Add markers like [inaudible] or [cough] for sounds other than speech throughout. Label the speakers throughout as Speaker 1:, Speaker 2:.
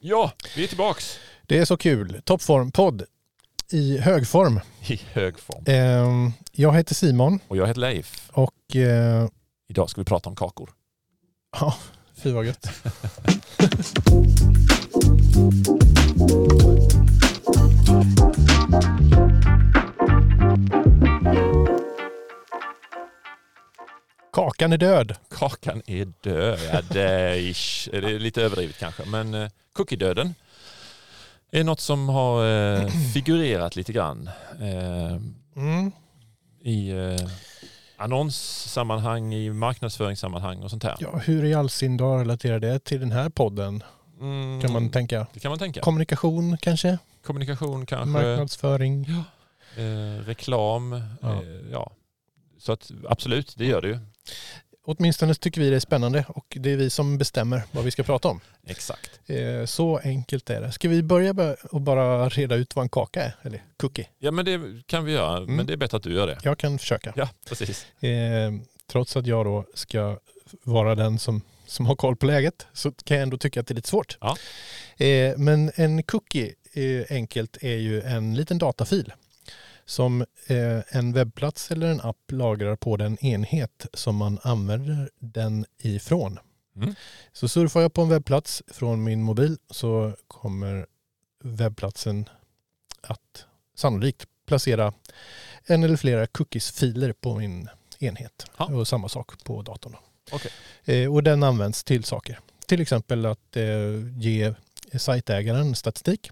Speaker 1: Ja, vi är tillbaks
Speaker 2: Det är så kul. Toppform-podd i högform.
Speaker 1: [laughs] i hög form.
Speaker 2: Eh, jag heter Simon
Speaker 1: Och jag heter Leif.
Speaker 2: och eh,
Speaker 1: Idag ska vi prata om kakor.
Speaker 2: ja, fy vad gött. Kakan är död.
Speaker 1: Kakan är död. eh, ish. Det är lite överdrivet kanske, men eh, cookie-döden är något som har eh, figurerat lite grann eh,
Speaker 2: Mm.
Speaker 1: i eh, annonssammanhang, i marknadsföringssammanhang och sånt här.
Speaker 2: Ja, hur i all sin dar relaterar det till den här podden
Speaker 1: Mm,
Speaker 2: kan man tänka?
Speaker 1: det kan man tänka.
Speaker 2: Kommunikation kanske?
Speaker 1: Kommunikation kanske.
Speaker 2: Marknadsföring?
Speaker 1: eh, reklam.
Speaker 2: Ja.
Speaker 1: Eh, ja. Så att, absolut, det gör det ju.
Speaker 2: Åtminstone tycker vi det är spännande och det är vi som bestämmer vad vi ska prata om.
Speaker 1: Exakt.
Speaker 2: Eh, Så enkelt är det. Ska vi börja med att bara reda ut vad en kaka är? Eller cookie?
Speaker 1: Ja men det kan vi göra, men
Speaker 2: Mm.
Speaker 1: det är bättre att du gör det.
Speaker 2: Jag kan försöka.
Speaker 1: Ja, [laughs] precis.
Speaker 2: Eh, Trots att jag då ska vara den som, som har koll på läget så kan jag ändå tycka att det är lite svårt.
Speaker 1: Ja.
Speaker 2: Eh, Men en cookie, eh, enkelt, är ju en liten datafil som eh, en webbplats eller en app lagrar på den enhet som man använder den ifrån.
Speaker 1: Mm.
Speaker 2: Så surfar jag på en webbplats från min mobil så kommer webbplatsen att sannolikt placera en eller flera cookies-filer på min enhet.
Speaker 1: Ja.
Speaker 2: Och samma sak på datorn. då.
Speaker 1: Okej.
Speaker 2: Eh, och den används till saker. Till exempel att eh, ge sajtägaren statistik.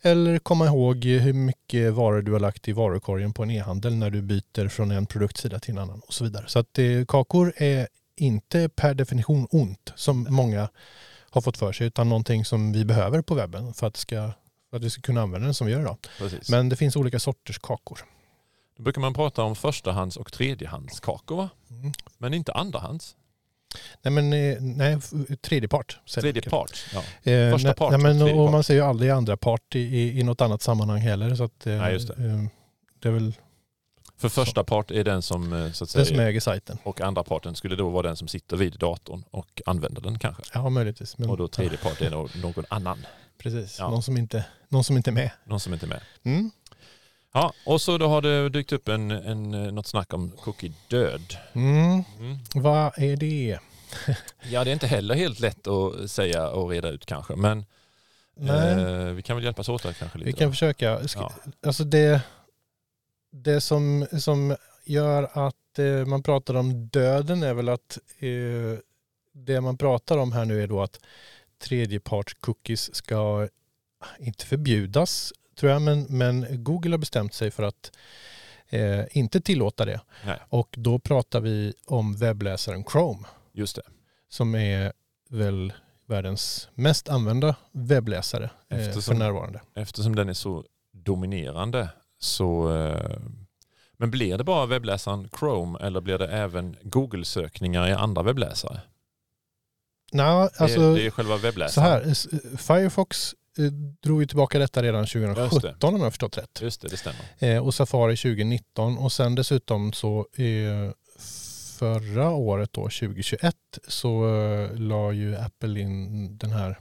Speaker 2: Eller komma ihåg hur mycket varor du har lagt i varukorgen på en e-handel när du byter från en produktsida till en annan och så vidare. Så att eh, kakor är inte per definition ont som många har fått för sig utan någonting som vi behöver på webben för att, ska, för att vi ska kunna använda den som vi gör idag.
Speaker 1: precis. Men,
Speaker 2: Men det finns olika sorters kakor.
Speaker 1: Då brukar man prata om förstahands och tredjehandskakor va?
Speaker 2: Mm.
Speaker 1: Men inte andrahands.
Speaker 2: Nej, men eh, nej, f- tredjepart. säger
Speaker 1: Tredje
Speaker 2: jag.
Speaker 1: part. Ja.
Speaker 2: Eh,
Speaker 1: Första
Speaker 2: nej-
Speaker 1: part,
Speaker 2: Nej, men,
Speaker 1: tredje
Speaker 2: och
Speaker 1: part.
Speaker 2: man säger ju aldrig andra part i, i, i något annat sammanhang heller. Så att, eh,
Speaker 1: Nej, just det.
Speaker 2: eh, det är väl
Speaker 1: För första part är den som, eh, så att
Speaker 2: den
Speaker 1: säga,
Speaker 2: som äger sajten.
Speaker 1: och andra parten skulle då vara den som sitter vid datorn och använder den kanske.
Speaker 2: Ja, möjligtvis. Men,
Speaker 1: Och då tredje part är då någon annan,
Speaker 2: Precis,
Speaker 1: Ja.
Speaker 2: någon, som inte, någon som inte är med.
Speaker 1: någon som inte är med.
Speaker 2: Mm.
Speaker 1: Ja, och så då har det dykt upp en, en, eh, något snack om cookie-död.
Speaker 2: Mm.
Speaker 1: Mm.
Speaker 2: Vad är
Speaker 1: Eh,
Speaker 2: det?
Speaker 1: Ja, det är inte heller helt lätt att säga och reda ut kanske, men
Speaker 2: Nej,
Speaker 1: eh, vi kan väl hjälpas åt där kanske lite.
Speaker 2: vi kan
Speaker 1: då.
Speaker 2: försöka. Sk-
Speaker 1: ja.
Speaker 2: Alltså det, det som, som gör att eh, man pratar om döden är väl att eh, det man pratar om här nu är då att tredjeparts-cookies ska inte förbjudas tror jag, men, men Google har bestämt sig för att eh, inte tillåta det.
Speaker 1: Nej.
Speaker 2: Och då pratar vi om webbläsaren Chrome.
Speaker 1: Just det,
Speaker 2: som är väl världens mest använda webbläsare eh, för
Speaker 1: Eftersom-
Speaker 2: närvarande.
Speaker 1: eftersom den är så dominerande så... Eh, men blir det bara webbläsaren Chrome eller blir det även Google-sökningar i andra webbläsare?
Speaker 2: Nej,
Speaker 1: det, är,
Speaker 2: alltså
Speaker 1: det är själva
Speaker 2: så
Speaker 1: webbläsaren.
Speaker 2: här, eh, s- Firefox eh, drog ju tillbaka detta redan 2017 om jag har förstått rätt.
Speaker 1: Just det, det stämmer.
Speaker 2: Eh, och Safari 2019 och sen dessutom så eh, förra året då 2021 så eh, la ju Apple in den här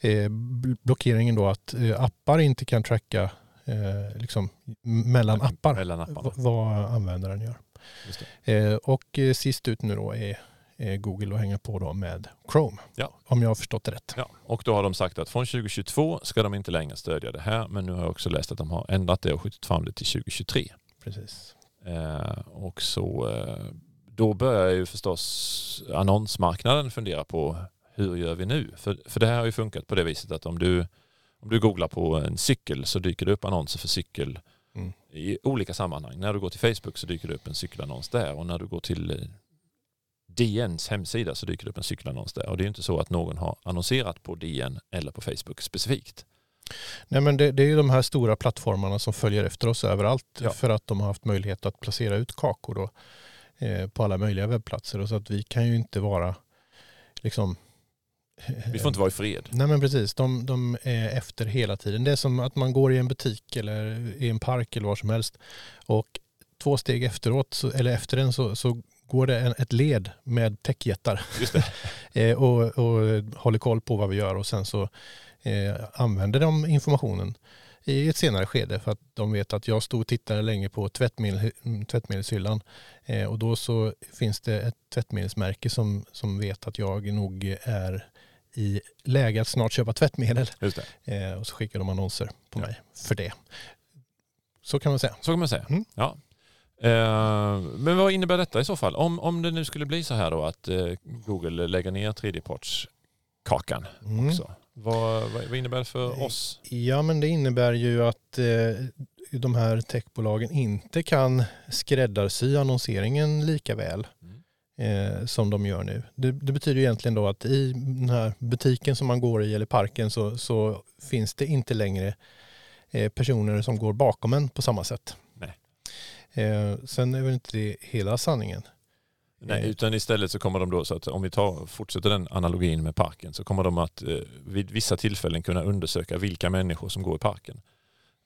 Speaker 2: eh, bl- blockeringen då att eh, appar inte kan tracka eh, liksom m- mellan appar.
Speaker 1: Mellan apparna.
Speaker 2: v- vad användaren gör.
Speaker 1: Just
Speaker 2: Eh, och eh, sist ut nu då är eh, Google att hänga på då med Chrome.
Speaker 1: Ja.
Speaker 2: Om jag har förstått det rätt.
Speaker 1: Ja, och då har de sagt att från 2022 ska de inte längre stödja det här, men nu har jag också läst att de har ändrat det och skjutit fram det till 2023.
Speaker 2: Precis.
Speaker 1: Eh, och så, eh, då börjar ju förstås annonsmarknaden fundera på hur gör vi nu? För, för det här har ju funkat på det viset att om du, om du googlar på en cykel så dyker det upp annonser för cykel
Speaker 2: Mm.
Speaker 1: i olika sammanhang. När du går till Facebook så dyker det upp en cykelannons där och när du går till eh, DNs hemsida så dyker det upp en cykelannons där. Och det är ju inte så att någon har annonserat på DN eller på Facebook specifikt.
Speaker 2: Nej, men det, det är ju de här stora plattformarna som följer efter oss överallt
Speaker 1: Ja.
Speaker 2: för att de har haft möjlighet att placera ut kakor då, eh, på alla möjliga webbplatser. Och så att vi kan ju inte vara liksom...
Speaker 1: Vi får inte vara i fred.
Speaker 2: Nej men precis, de, de är efter hela tiden. Det är som att man går i en butik eller i en park eller var som helst och två steg efteråt, så, eller efter den så, så går det en, ett led med techjättar
Speaker 1: Just det.
Speaker 2: [laughs] eh, och, och håller koll på vad vi gör och sen så eh, använder de informationen i ett senare skede för att de vet att jag stod och tittade länge på tvättmedel, tvättmedelshyllan eh, och då så finns det ett tvättmedelsmärke som, som vet att jag nog är i läge att snart köpa tvättmedel
Speaker 1: Just det.
Speaker 2: eh, och så skickar de annonser på
Speaker 1: Ja.
Speaker 2: mig för det. Så kan man säga.
Speaker 1: Så kan man säga.
Speaker 2: Mm.
Speaker 1: Ja. Eh, Men vad innebär detta i så fall? Om, om det nu skulle bli så här då att eh, Google lägger ner tredjepartskakan
Speaker 2: Mm.
Speaker 1: också. Vad, vad vad innebär det för
Speaker 2: Nej.
Speaker 1: oss?
Speaker 2: Ja, men det innebär ju att eh, de här techbolagen inte kan skräddarsy annonseringen lika väl
Speaker 1: Mm.
Speaker 2: eh, som de gör nu. Det, det betyder ju egentligen då att i den här butiken som man går i eller parken så, så finns det inte längre eh, personer som går bakom en på samma sätt.
Speaker 1: Nej.
Speaker 2: Eh, sen är väl inte det hela sanningen.
Speaker 1: Nej,
Speaker 2: Nej.
Speaker 1: utan istället så kommer de då, så att om vi tar, fortsätter den analogin med parken, så kommer de att eh, vid vissa tillfällen kunna undersöka vilka människor som går i parken.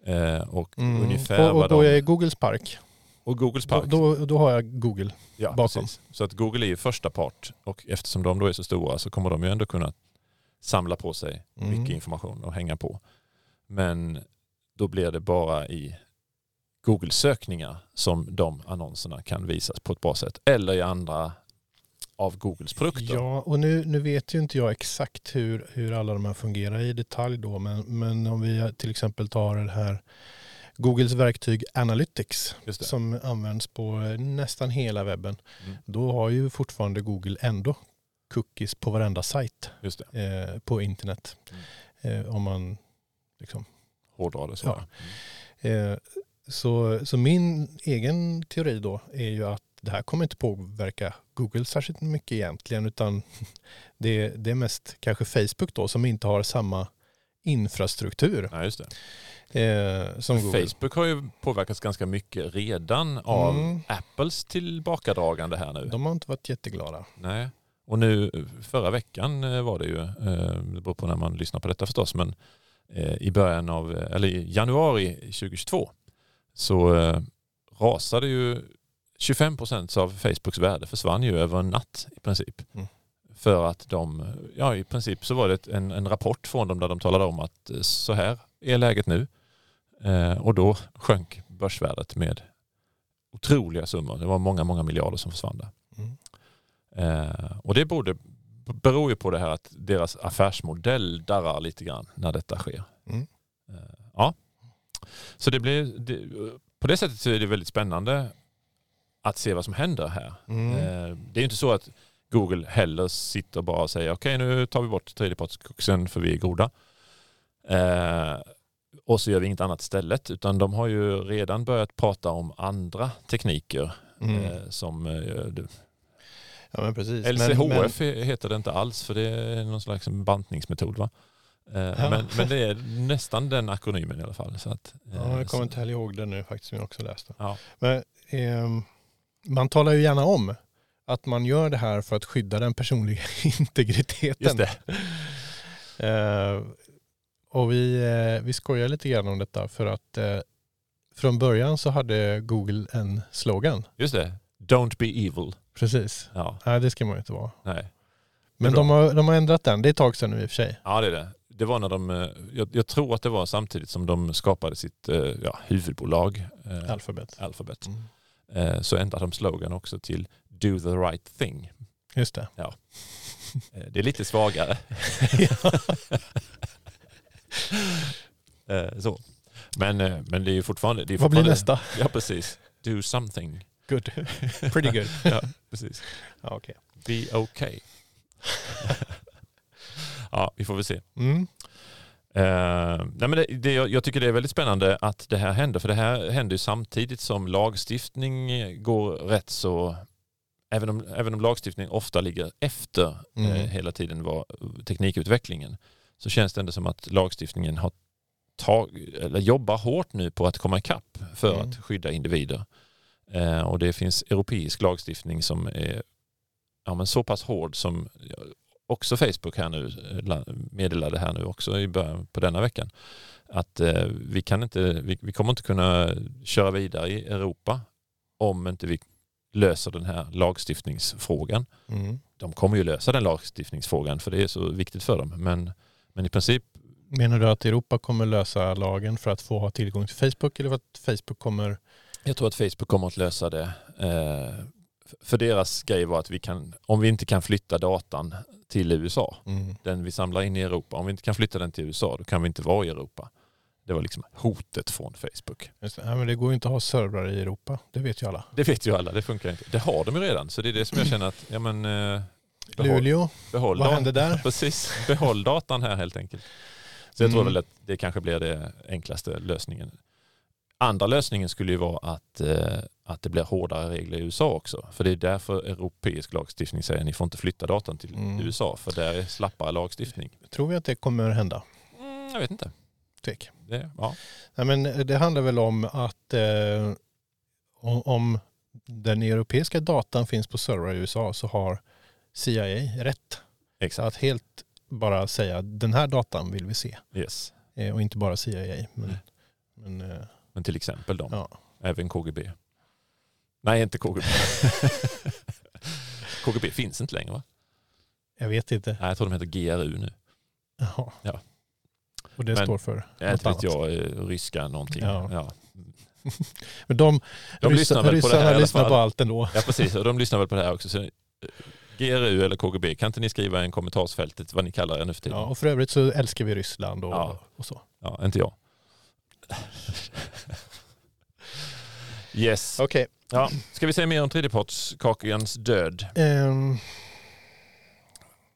Speaker 1: Eh, och ungefär
Speaker 2: Mm. Och, och
Speaker 1: vad
Speaker 2: då
Speaker 1: de...
Speaker 2: är Googles park.
Speaker 1: Och Googles
Speaker 2: Då,
Speaker 1: park.
Speaker 2: då, då har jag Google.
Speaker 1: ja,
Speaker 2: bakom.
Speaker 1: precis. Så att Google är ju första part och eftersom de då är så stora så kommer de ju ändå kunna samla på sig
Speaker 2: Mm.
Speaker 1: mycket information och hänga på. Men då blir det bara i Google-sökningar som de annonserna kan visas på ett bra sätt. Eller i andra av Googles produkter.
Speaker 2: Ja, och nu, nu vet ju inte jag exakt hur, hur alla de här fungerar i detalj då, men, men om vi till exempel tar det här Googles verktyg Analytics
Speaker 1: Just det.
Speaker 2: som används på nästan hela webben,
Speaker 1: Mm.
Speaker 2: då har ju fortfarande Google ändå cookies på varenda sajt
Speaker 1: Just det.
Speaker 2: eh, på internet.
Speaker 1: Mm.
Speaker 2: Eh, om man liksom
Speaker 1: hårdra det så.
Speaker 2: Ja. Eh, Så, så min egen teori då är ju att det här kommer inte påverka Google särskilt mycket egentligen utan [laughs] det, det är mest kanske Facebook då som inte har samma infrastruktur
Speaker 1: Ja, just det.
Speaker 2: eh, som Google.
Speaker 1: Facebook har ju påverkats ganska mycket redan av
Speaker 2: Mm.
Speaker 1: Apples tillbakadragande här nu.
Speaker 2: De har inte varit jätteglada.
Speaker 1: Nej. Och nu förra veckan eh, var det ju, eh, det beror på när man lyssnar på detta förstås, men eh, i början av, eh, eller i januari 2022 så eh, rasade ju 25 procent av Facebooks värde försvann ju över en natt i princip.
Speaker 2: Mm.
Speaker 1: För att de, ja i princip så var det ett- en, en rapport från dem där de talade om att eh, så här är läget nu. Eh, och då sjönk börsvärdet med otroliga summor. Det var många, många miljarder som försvann där.
Speaker 2: Mm.
Speaker 1: Eh, och det borde, beror ju på det här att deras affärsmodell darrar lite grann när detta sker.
Speaker 2: Mm.
Speaker 1: Eh, ja. Så det blir, det, på det sättet så är det väldigt spännande att se vad som händer här.
Speaker 2: Mm.
Speaker 1: Eh, det är ju inte så att Google heller sitter bara och säger okej nu tar vi bort tredjepartskuxen för vi är goda. Eh, och så gör vi inget annat istället utan de har ju redan börjat prata om andra tekniker
Speaker 2: Mm.
Speaker 1: eh, som eh,
Speaker 2: Ja men precis. Men-
Speaker 1: LCHF heter det inte alls för det är någon slags bantningsmetod va? Eh,
Speaker 2: Ja.
Speaker 1: Men, men det är nästan den akronymen i alla fall. Så att, eh,
Speaker 2: men, ja, jag kommer
Speaker 1: så-
Speaker 2: inte heller ihåg det nu faktiskt, men jag har också läst det.
Speaker 1: Ja.
Speaker 2: Men, ehm, man talar ju gärna om att man gör det här för att skydda den personliga [laughs] integriteten.
Speaker 1: Just det.
Speaker 2: [laughs] Eh, och vi, eh, vi skojar lite grann om detta för att eh, från början så hade Google en slogan.
Speaker 1: Just det. Don't be evil.
Speaker 2: Precis.
Speaker 1: Ja,
Speaker 2: Nej, det ska man ju inte vara.
Speaker 1: nej.
Speaker 2: Men
Speaker 1: bra.
Speaker 2: de har, de har ändrat den. Det är ett tag sedan nu i och för sig.
Speaker 1: ja, det är det. Det var när de, eh, jag, jag tror att det var samtidigt som de skapade sitt eh, ja, huvudbolag eh,
Speaker 2: Alphabet.
Speaker 1: Alphabet.
Speaker 2: Mm.
Speaker 1: Eh, så ändrade de slogan också till Do the right thing.
Speaker 2: Just det.
Speaker 1: Eh, Det är lite
Speaker 2: [laughs]
Speaker 1: svagare. Eh, så. Men, eh, men det är ju fortfarande... Det är
Speaker 2: Vad blir
Speaker 1: fortfarande-
Speaker 2: nästa? [laughs]
Speaker 1: Ja, precis. Do something.
Speaker 2: Good. Pretty good.
Speaker 1: [laughs] ja, precis.
Speaker 2: ja, okay.
Speaker 1: Be okay. [laughs] ja, vi får väl se.
Speaker 2: mm.
Speaker 1: Eh, nej men det, det, jag jag tycker det är väldigt spännande att det här händer, för det här händer ju samtidigt som lagstiftning går rätt så... Även om, även om lagstiftning ofta ligger efter
Speaker 2: Mm.
Speaker 1: eh, hela tiden vad teknikutvecklingen så känns det ändå som att lagstiftningen har tag, eller jobbar hårt nu på att komma ikapp för
Speaker 2: Mm.
Speaker 1: att skydda individer. Eh, och det finns europeisk lagstiftning som är ja, men så pass hård som ja, också Facebook här nu eh, la- meddelade här nu också i början på denna veckan. Att eh, vi, kan inte, vi, vi kommer inte kunna köra vidare i Europa om inte vi löser den här lagstiftningsfrågan
Speaker 2: Mm.
Speaker 1: de kommer ju lösa den lagstiftningsfrågan för det är så viktigt för dem. Men, men i princip
Speaker 2: Menar du att Europa kommer lösa lagen för att få ha tillgång till Facebook eller för att Facebook kommer...
Speaker 1: Jag tror att Facebook kommer att lösa det. Eh, för deras grej var att vi kan, om vi inte kan flytta datan till USA,
Speaker 2: Mm.
Speaker 1: den vi samlar in i Europa, om vi inte kan flytta den till USA, då kan vi inte vara i Europa. Det var liksom hotet från Facebook.
Speaker 2: Just det. Nej, men det går ju inte att ha servrar i Europa, det vet ju alla.
Speaker 1: Det vet ju alla, det funkar inte. Det har de ju redan, så det är det som jag känner att, ja men, eh, behåll,
Speaker 2: Luleå,
Speaker 1: behåll
Speaker 2: vad
Speaker 1: datan.
Speaker 2: hände där?
Speaker 1: Precis, behåll datan här helt enkelt. Så jag tror
Speaker 2: Mm.
Speaker 1: väl att det kanske blir det enklaste lösningen. Andra lösningen skulle ju vara att, eh, att det blir hårdare regler i USA också. För det är därför europeisk lagstiftning säger att ni får inte flytta datan till
Speaker 2: Mm.
Speaker 1: USA, för där är slappare lagstiftning.
Speaker 2: Tror vi att det kommer hända?
Speaker 1: Mm, jag vet inte.
Speaker 2: Tvek.
Speaker 1: Det, ja.
Speaker 2: Nej, men eh, det handlar väl om att eh, om, om den europeiska datan finns på servrar i USA så har CIA rätt
Speaker 1: Exakt.
Speaker 2: att helt bara säga den här datan vill vi se.
Speaker 1: Yes.
Speaker 2: Eh, och inte bara CIA. Men,
Speaker 1: Mm.
Speaker 2: men, eh, [laughs]
Speaker 1: Men till exempel de.
Speaker 2: ja.
Speaker 1: Även KGB. Nej, inte KGB. KGB finns inte längre va?
Speaker 2: Jag vet inte.
Speaker 1: Nej, jag tror de heter GRU nu.
Speaker 2: Jaha.
Speaker 1: Ja.
Speaker 2: Och det
Speaker 1: Men-
Speaker 2: står för
Speaker 1: Jag
Speaker 2: något
Speaker 1: vet
Speaker 2: annat.
Speaker 1: inte jag, eh, ryska någonting.
Speaker 2: Ja.
Speaker 1: Ja.
Speaker 2: Men de,
Speaker 1: De lyssnar väl på det
Speaker 2: ryssarna
Speaker 1: här i alla
Speaker 2: lyssnar på
Speaker 1: fall.
Speaker 2: allt ändå.
Speaker 1: Ja precis, och de lyssnar väl på det här också. Så, eh, GRU eller KGB, kan inte ni skriva i en kommentarsfältet vad ni kallar er nu för tiden?
Speaker 2: Ja,
Speaker 1: Ja,
Speaker 2: och för övrigt så älskar vi Ryssland och,
Speaker 1: Typ. Ja.
Speaker 2: och så.
Speaker 1: inte jag. Yes.
Speaker 2: Okej.
Speaker 1: Ja. Ska vi säga mer om tredjepartskakans död?
Speaker 2: Ehm,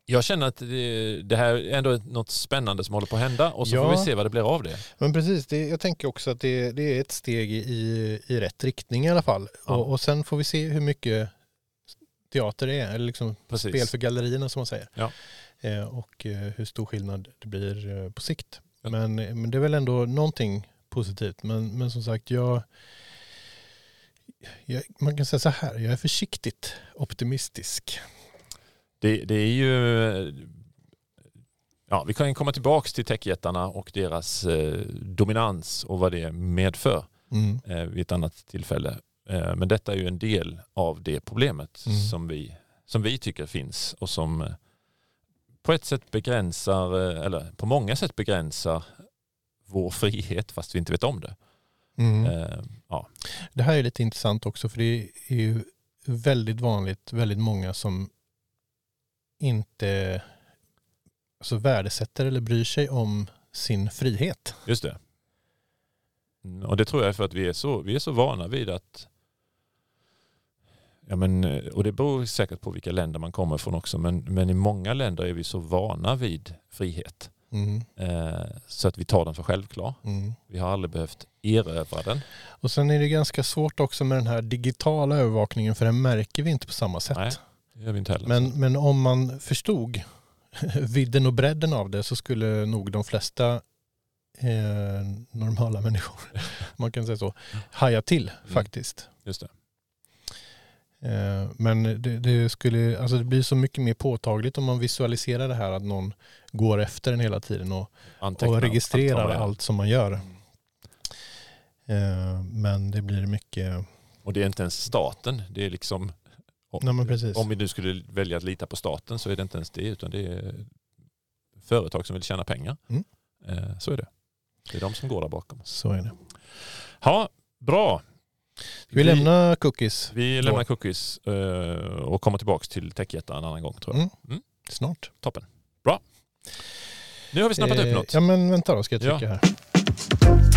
Speaker 1: Jag känner att det, det här är ändå något spännande som håller på att hända och så
Speaker 2: Ja.
Speaker 1: får vi se vad det blir av det.
Speaker 2: Men precis, det, jag tänker också att det, det är ett steg i, i rätt riktning i alla fall.
Speaker 1: Ja.
Speaker 2: Och, och sen får vi se hur mycket teater det är, eller liksom
Speaker 1: Precis.
Speaker 2: spel för gallerierna som man säger.
Speaker 1: Ja.
Speaker 2: Eh, och eh, hur stor skillnad det blir eh, på sikt.
Speaker 1: Ja.
Speaker 2: Men, eh, men det är väl ändå någonting positivt. Men, men som sagt, jag, jag, man kan säga så här, jag är försiktigt optimistisk.
Speaker 1: Det, det är ju... eh, Ja, vi kan ju komma tillbaka till techjättarna och deras eh, dominans och vad det medför.
Speaker 2: Mm.
Speaker 1: eh, vid ett annat tillfälle. Eh, men detta är ju en del av det problemet
Speaker 2: Mm.
Speaker 1: som, vi, som vi tycker finns och som eh, på ett sätt begränsar, eh, eller på många sätt begränsar vår frihet fast vi inte vet om det.
Speaker 2: Mm.
Speaker 1: Eh, ja.
Speaker 2: Det här är lite intressant också för det är ju väldigt vanligt, väldigt många som inte alltså värdesätter eller bryr sig om sin frihet.
Speaker 1: Just det. Mm, Och det tror jag är för att vi är så, vi är så vana vid att Ja, men, eh, och det beror säkert på vilka länder man kommer från också, men, men i många länder är vi så vana vid frihet
Speaker 2: Mm.
Speaker 1: eh, så att vi tar den för självklar. Vi har aldrig behövt erövra den.
Speaker 2: Och sen är det ganska svårt också med den här digitala övervakningen för den märker vi inte på samma sätt.
Speaker 1: Nej, det gör vi inte heller.
Speaker 2: Men, men om man förstod [laughs] vidden och bredden av det så skulle nog de flesta eh, normala människor, [laughs] om man kan säga så, haja till
Speaker 1: Mm.
Speaker 2: faktiskt.
Speaker 1: Just det.
Speaker 2: Eh, Men det, det, skulle, alltså det blir så mycket mer påtagligt om man visualiserar det här att någon går efter den hela tiden och,
Speaker 1: Anteckna
Speaker 2: och
Speaker 1: allt
Speaker 2: registrerar
Speaker 1: vad
Speaker 2: allt,
Speaker 1: det är.
Speaker 2: som man gör. Eh, Men det blir mycket,
Speaker 1: Och det är inte ens staten. Det är liksom,
Speaker 2: nej men precis.
Speaker 1: om vi nu skulle välja att lita på staten så är det inte ens det utan det är företag som vill tjäna pengar.
Speaker 2: Mm.
Speaker 1: Eh, Så är det. Det är de som går där bakom.
Speaker 2: Så är det.
Speaker 1: Ja, bra.
Speaker 2: Ska vi lämna cookies
Speaker 1: vi lämnar cookies eh, och kommer tillbaka till techjättar en annan gång tror jag.
Speaker 2: Mm.
Speaker 1: Mm.
Speaker 2: snart?
Speaker 1: Toppen. Bra. Nu har vi snappat upp
Speaker 2: Eh,
Speaker 1: något.
Speaker 2: Ja men vänta då, ska jag
Speaker 1: Ja.
Speaker 2: trycka här.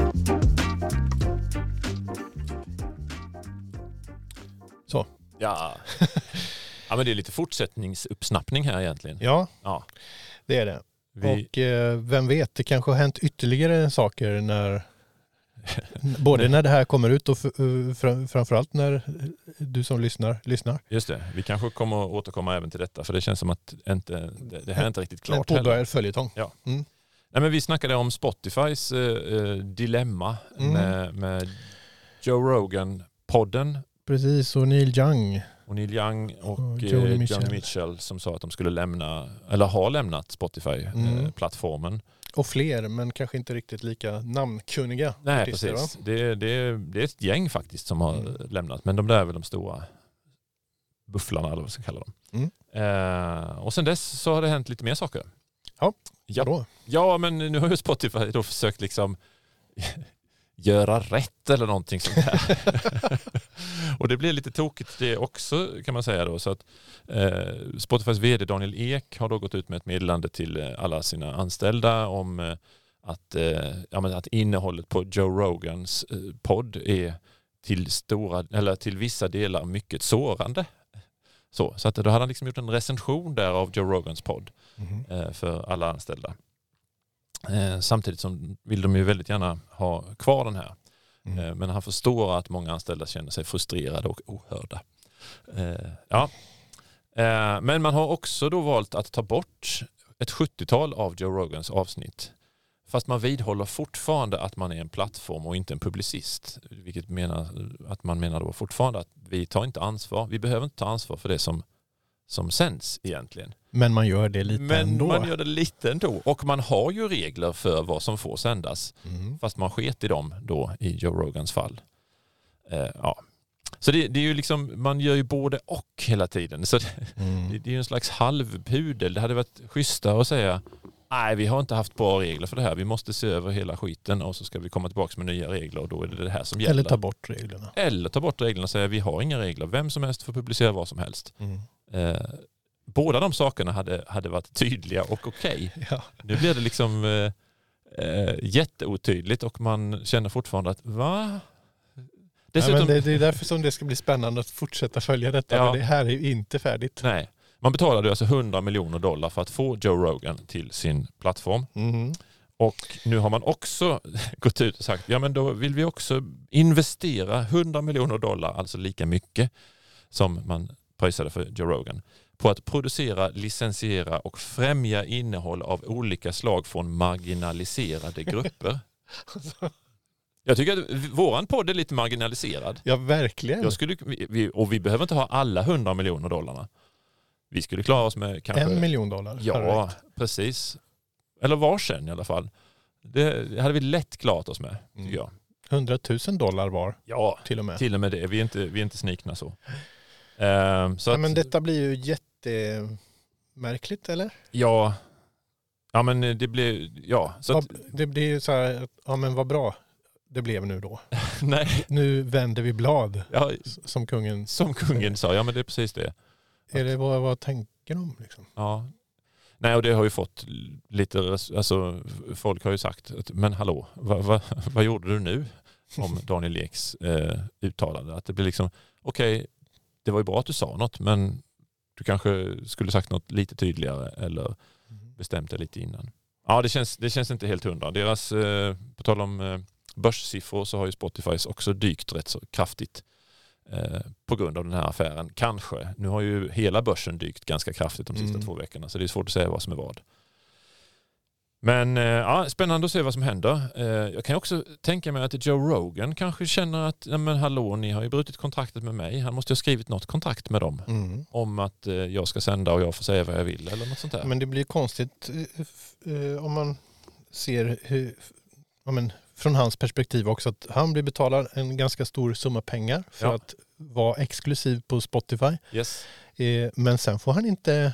Speaker 2: [laughs]
Speaker 1: Ja. ja, men det är lite fortsättningsuppsnappning här egentligen.
Speaker 2: Ja,
Speaker 1: Ja.
Speaker 2: det är det.
Speaker 1: Vi,
Speaker 2: Och eh, vem vet, det kanske har hänt ytterligare saker när [laughs] Både när det här kommer ut och fr- fram- framförallt när du som lyssnar lyssnar.
Speaker 1: Just det, vi kanske kommer att återkomma även till detta för det känns som att inte, det, det här är inte riktigt klart
Speaker 2: en
Speaker 1: heller.
Speaker 2: påbörjad följetong.
Speaker 1: Nej, men vi snackade om Spotifys eh, eh, dilemma
Speaker 2: Mm.
Speaker 1: med, med Joe Rogan-podden
Speaker 2: Precis, och Neil Young.
Speaker 1: och Neil Young och,
Speaker 2: Och
Speaker 1: eh,
Speaker 2: Joni
Speaker 1: Johnny
Speaker 2: Mitchell.
Speaker 1: Mitchell. som sa att de skulle lämna, eller har lämnat eh,
Speaker 2: Mm.
Speaker 1: Spotify-plattformen.
Speaker 2: Och fler, men kanske inte riktigt lika namnkunniga.
Speaker 1: Nej,
Speaker 2: artister,
Speaker 1: precis. Det, det, det är ett gäng faktiskt som har
Speaker 2: Mm.
Speaker 1: lämnat men de där är väl de stora bufflarna eller vad man ska kalla dem.
Speaker 2: Mm.
Speaker 1: Eh, och sen dess så har det hänt lite mer saker.
Speaker 2: Ja,
Speaker 1: ja.
Speaker 2: Vadå?
Speaker 1: Ja, men nu har ju Spotify då försökt liksom [laughs] göra rätt eller någonting sånt där. och det blir lite tokigt det också kan man säga då. Så att, eh, Spotifys vd Daniel Ek har då gått ut med ett meddelande till eh, alla sina anställda om eh, att, eh, ja, men att innehållet på Joe Rogans eh, podd är till, stora, eller till vissa delar mycket sårande. Så, så att då hade han liksom gjort en recension där av Joe Rogans podd
Speaker 2: Mhm.
Speaker 1: eh, för alla anställda. Eh, Samtidigt som vill de ju väldigt gärna ha kvar den här.
Speaker 2: Mm.
Speaker 1: Eh, Men han förstår att många anställda känner sig frustrerade och ohörda. Eh, Ja. Eh, Men man har också då valt att ta bort ett 70-tal av Joe Rogans avsnitt. Fast man vidhåller fortfarande att man är en plattform och inte en publicist. Vilket menar att man menar då fortfarande att vi tar inte ansvar. Vi behöver inte ta ansvar för det som, som sänds egentligen.
Speaker 2: Men man gör det lite
Speaker 1: Men
Speaker 2: ändå.
Speaker 1: man gör det lite ändå. Och man har ju regler för vad som får sändas.
Speaker 2: Mm.
Speaker 1: Fast man sket i dem då i Joe Rogans fall. Eh, ja. Så det, det är ju liksom, man gör ju både och hela tiden. Så det,
Speaker 2: Mm.
Speaker 1: det, det är ju en slags halvpudel. Det hade varit schysstare att säga nej vi har inte haft bra regler för det här. Vi måste se över hela skiten och så ska vi komma tillbaka med nya regler och då är det det här som gäller.
Speaker 2: Eller ta bort reglerna.
Speaker 1: Eller ta bort reglerna och säga vi har inga regler. Vem som helst får publicera vad som helst.
Speaker 2: Mm.
Speaker 1: Eh, båda de sakerna hade, hade varit tydliga och okej.
Speaker 2: Ja.
Speaker 1: Nu blir det liksom eh, eh, jätteotydligt och man känner fortfarande att va?
Speaker 2: Nej, men
Speaker 1: Dessutom,
Speaker 2: det, det är därför som det ska bli spännande att fortsätta följa detta.
Speaker 1: Ja.
Speaker 2: Men det här är ju inte färdigt.
Speaker 1: nej, man betalade alltså 100 miljoner dollar för att få Joe Rogan till sin plattform.
Speaker 2: Mm.
Speaker 1: Och nu har man också [laughs] gått ut och sagt, ja men då vill vi också investera 100 miljoner dollar, alltså lika mycket som man pröjsade för Joe Rogan, på att producera, licensiera och främja innehåll av olika slag från marginaliserade grupper. Jag tycker att vi- våran podd är lite marginaliserad.
Speaker 2: Ja, verkligen.
Speaker 1: Jag skulle, vi- vi, och vi behöver inte ha alla 100 miljoner dollarna. Vi skulle klara oss med kanske...
Speaker 2: En miljon dollar. Herregud.
Speaker 1: Ja, precis. Eller varsin i alla fall. Det hade vi lätt klarat oss med, tycker
Speaker 2: Mm.
Speaker 1: jag.
Speaker 2: 100 000 dollar var
Speaker 1: Ja,
Speaker 2: till och med.
Speaker 1: till och med det. Vi är inte, vi är inte snikna så. Ehm, så
Speaker 2: Ja,
Speaker 1: att,
Speaker 2: men detta blir ju jättemärkligt, eller?
Speaker 1: ja, ja, men det blir... Ja, så att,
Speaker 2: Vad- Det blir ju så här, att, ja men vad bra det blev nu då.
Speaker 1: [laughs] nej,
Speaker 2: Nu vänder vi blad,
Speaker 1: ja,
Speaker 2: s- som kungen.
Speaker 1: som kungen sa, ja men det är precis det.
Speaker 2: Är det vad, vad tänker de? Liksom?
Speaker 1: Ja. Nej, och det har ju fått lite... res- Alltså, folk har ju sagt, att, men hallå, vad, vad, vad gjorde du nu? Om Daniel Eks eh, uttalande. Att det blir liksom, okej, det var ju bra att du sa något, men du kanske skulle sagt något lite tydligare eller bestämt dig lite innan. Ja, det känns, det känns inte helt hundra. Deras, eh, på tal om eh, börssiffror så har ju Spotifys också dykt rätt så kraftigt eh, på grund av den här affären. Kanske. Nu har ju hela börsen dykt ganska kraftigt de sista
Speaker 2: Mm.
Speaker 1: två veckorna så det är svårt att säga vad som är vad. Men eh, ja, spännande att se vad som händer. Eh, jag kan ju också tänka mig att Joe Rogan kanske känner att "Ja, men hallå, ni har ju brutit kontraktet med mig. Han måste ju ha skrivit något kontrakt med dem
Speaker 2: Mm.
Speaker 1: om att eh, jag ska sända och jag får säga vad jag vill eller något sånt där.
Speaker 2: Men det blir konstigt eh, f- eh, om man ser hur, ja, men, från hans perspektiv också att han blir betalad en ganska stor summa pengar för
Speaker 1: Ja.
Speaker 2: att vara exklusiv på Spotify.
Speaker 1: Yes.
Speaker 2: Eh, men sen får han inte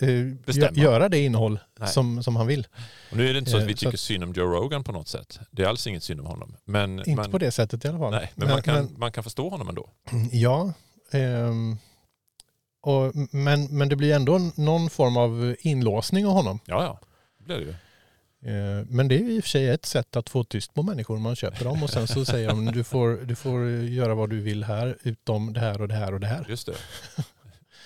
Speaker 2: eh, gö-
Speaker 1: Bestämma.
Speaker 2: göra det innehåll
Speaker 1: Nej.
Speaker 2: som, som han vill.
Speaker 1: Och nu är det inte så att
Speaker 2: Eh,
Speaker 1: vi
Speaker 2: så
Speaker 1: tycker
Speaker 2: att-
Speaker 1: synd om Joe Rogan på något sätt. Det är alls inget synd om honom. Men,
Speaker 2: Inte
Speaker 1: men,
Speaker 2: på det sättet i alla fall.
Speaker 1: Nej, men, man, kan, man kan förstå honom ändå.
Speaker 2: men- [clears throat] ja, ehm, och, men, men det blir ändå någon form av inlåsning av honom.
Speaker 1: Ja, ja. Det blir det ju.
Speaker 2: Eh, Men det är ju i och för sig ett sätt att få tyst på människor. Man köper dem och sen så säger de du får, du får göra vad du vill här utom det här och det här och det här.
Speaker 1: Just det.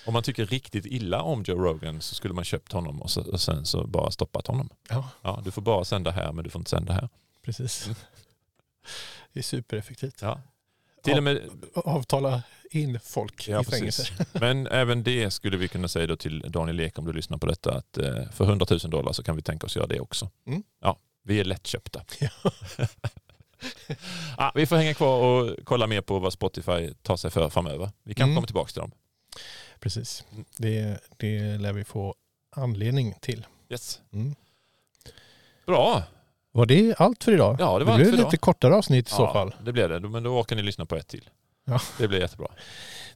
Speaker 1: Om man tycker riktigt illa om Joe Rogan så skulle man köpt honom och, så, och sen så bara stoppat honom.
Speaker 2: Ja,
Speaker 1: Ja, du får bara sända här men du får inte sända här.
Speaker 2: precis.
Speaker 1: Mm.
Speaker 2: Det är supereffektivt.
Speaker 1: Ja. Till
Speaker 2: Ja.
Speaker 1: och med,
Speaker 2: Avtala in folk
Speaker 1: Ja,
Speaker 2: i fängelser. [laughs]
Speaker 1: men även det skulle vi kunna säga då till Daniel Ek om du lyssnar på detta att eh, för 100 000 dollar så kan vi tänka oss göra det också.
Speaker 2: Mm.
Speaker 1: Ja, vi är
Speaker 2: [laughs]
Speaker 1: lättköpta. ah, vi får hänga kvar och kolla mer på vad Spotify tar sig för framöver. Vi kan
Speaker 2: Mm.
Speaker 1: komma tillbaka till dem.
Speaker 2: Precis.
Speaker 1: Mm.
Speaker 2: Det, det lär vi få anledning till.
Speaker 1: Yes.
Speaker 2: Mm.
Speaker 1: Bra.
Speaker 2: Var det allt för idag?
Speaker 1: Ja, det var allt
Speaker 2: blev
Speaker 1: för
Speaker 2: lite
Speaker 1: idag.
Speaker 2: kortare avsnitt i så
Speaker 1: Ja,
Speaker 2: fall.
Speaker 1: Det blir det, men då orkar ni lyssna på ett till.
Speaker 2: Ja.
Speaker 1: Det blir jättebra.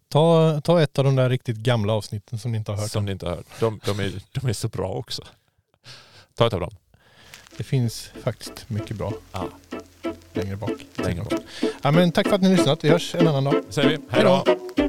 Speaker 2: Ta, ta ett av de där riktigt gamla avsnitten som ni inte har hört.
Speaker 1: Som ni inte har hört. De, de, är, de är så bra också. Ta ett av dem.
Speaker 2: Det finns faktiskt mycket bra
Speaker 1: Ja.
Speaker 2: längre bak.
Speaker 1: Längre bak.
Speaker 2: Ja, men tack för att ni har lyssnat. Vi hörs en annan dag.
Speaker 1: Det säger vi. Hej då.
Speaker 2: Hej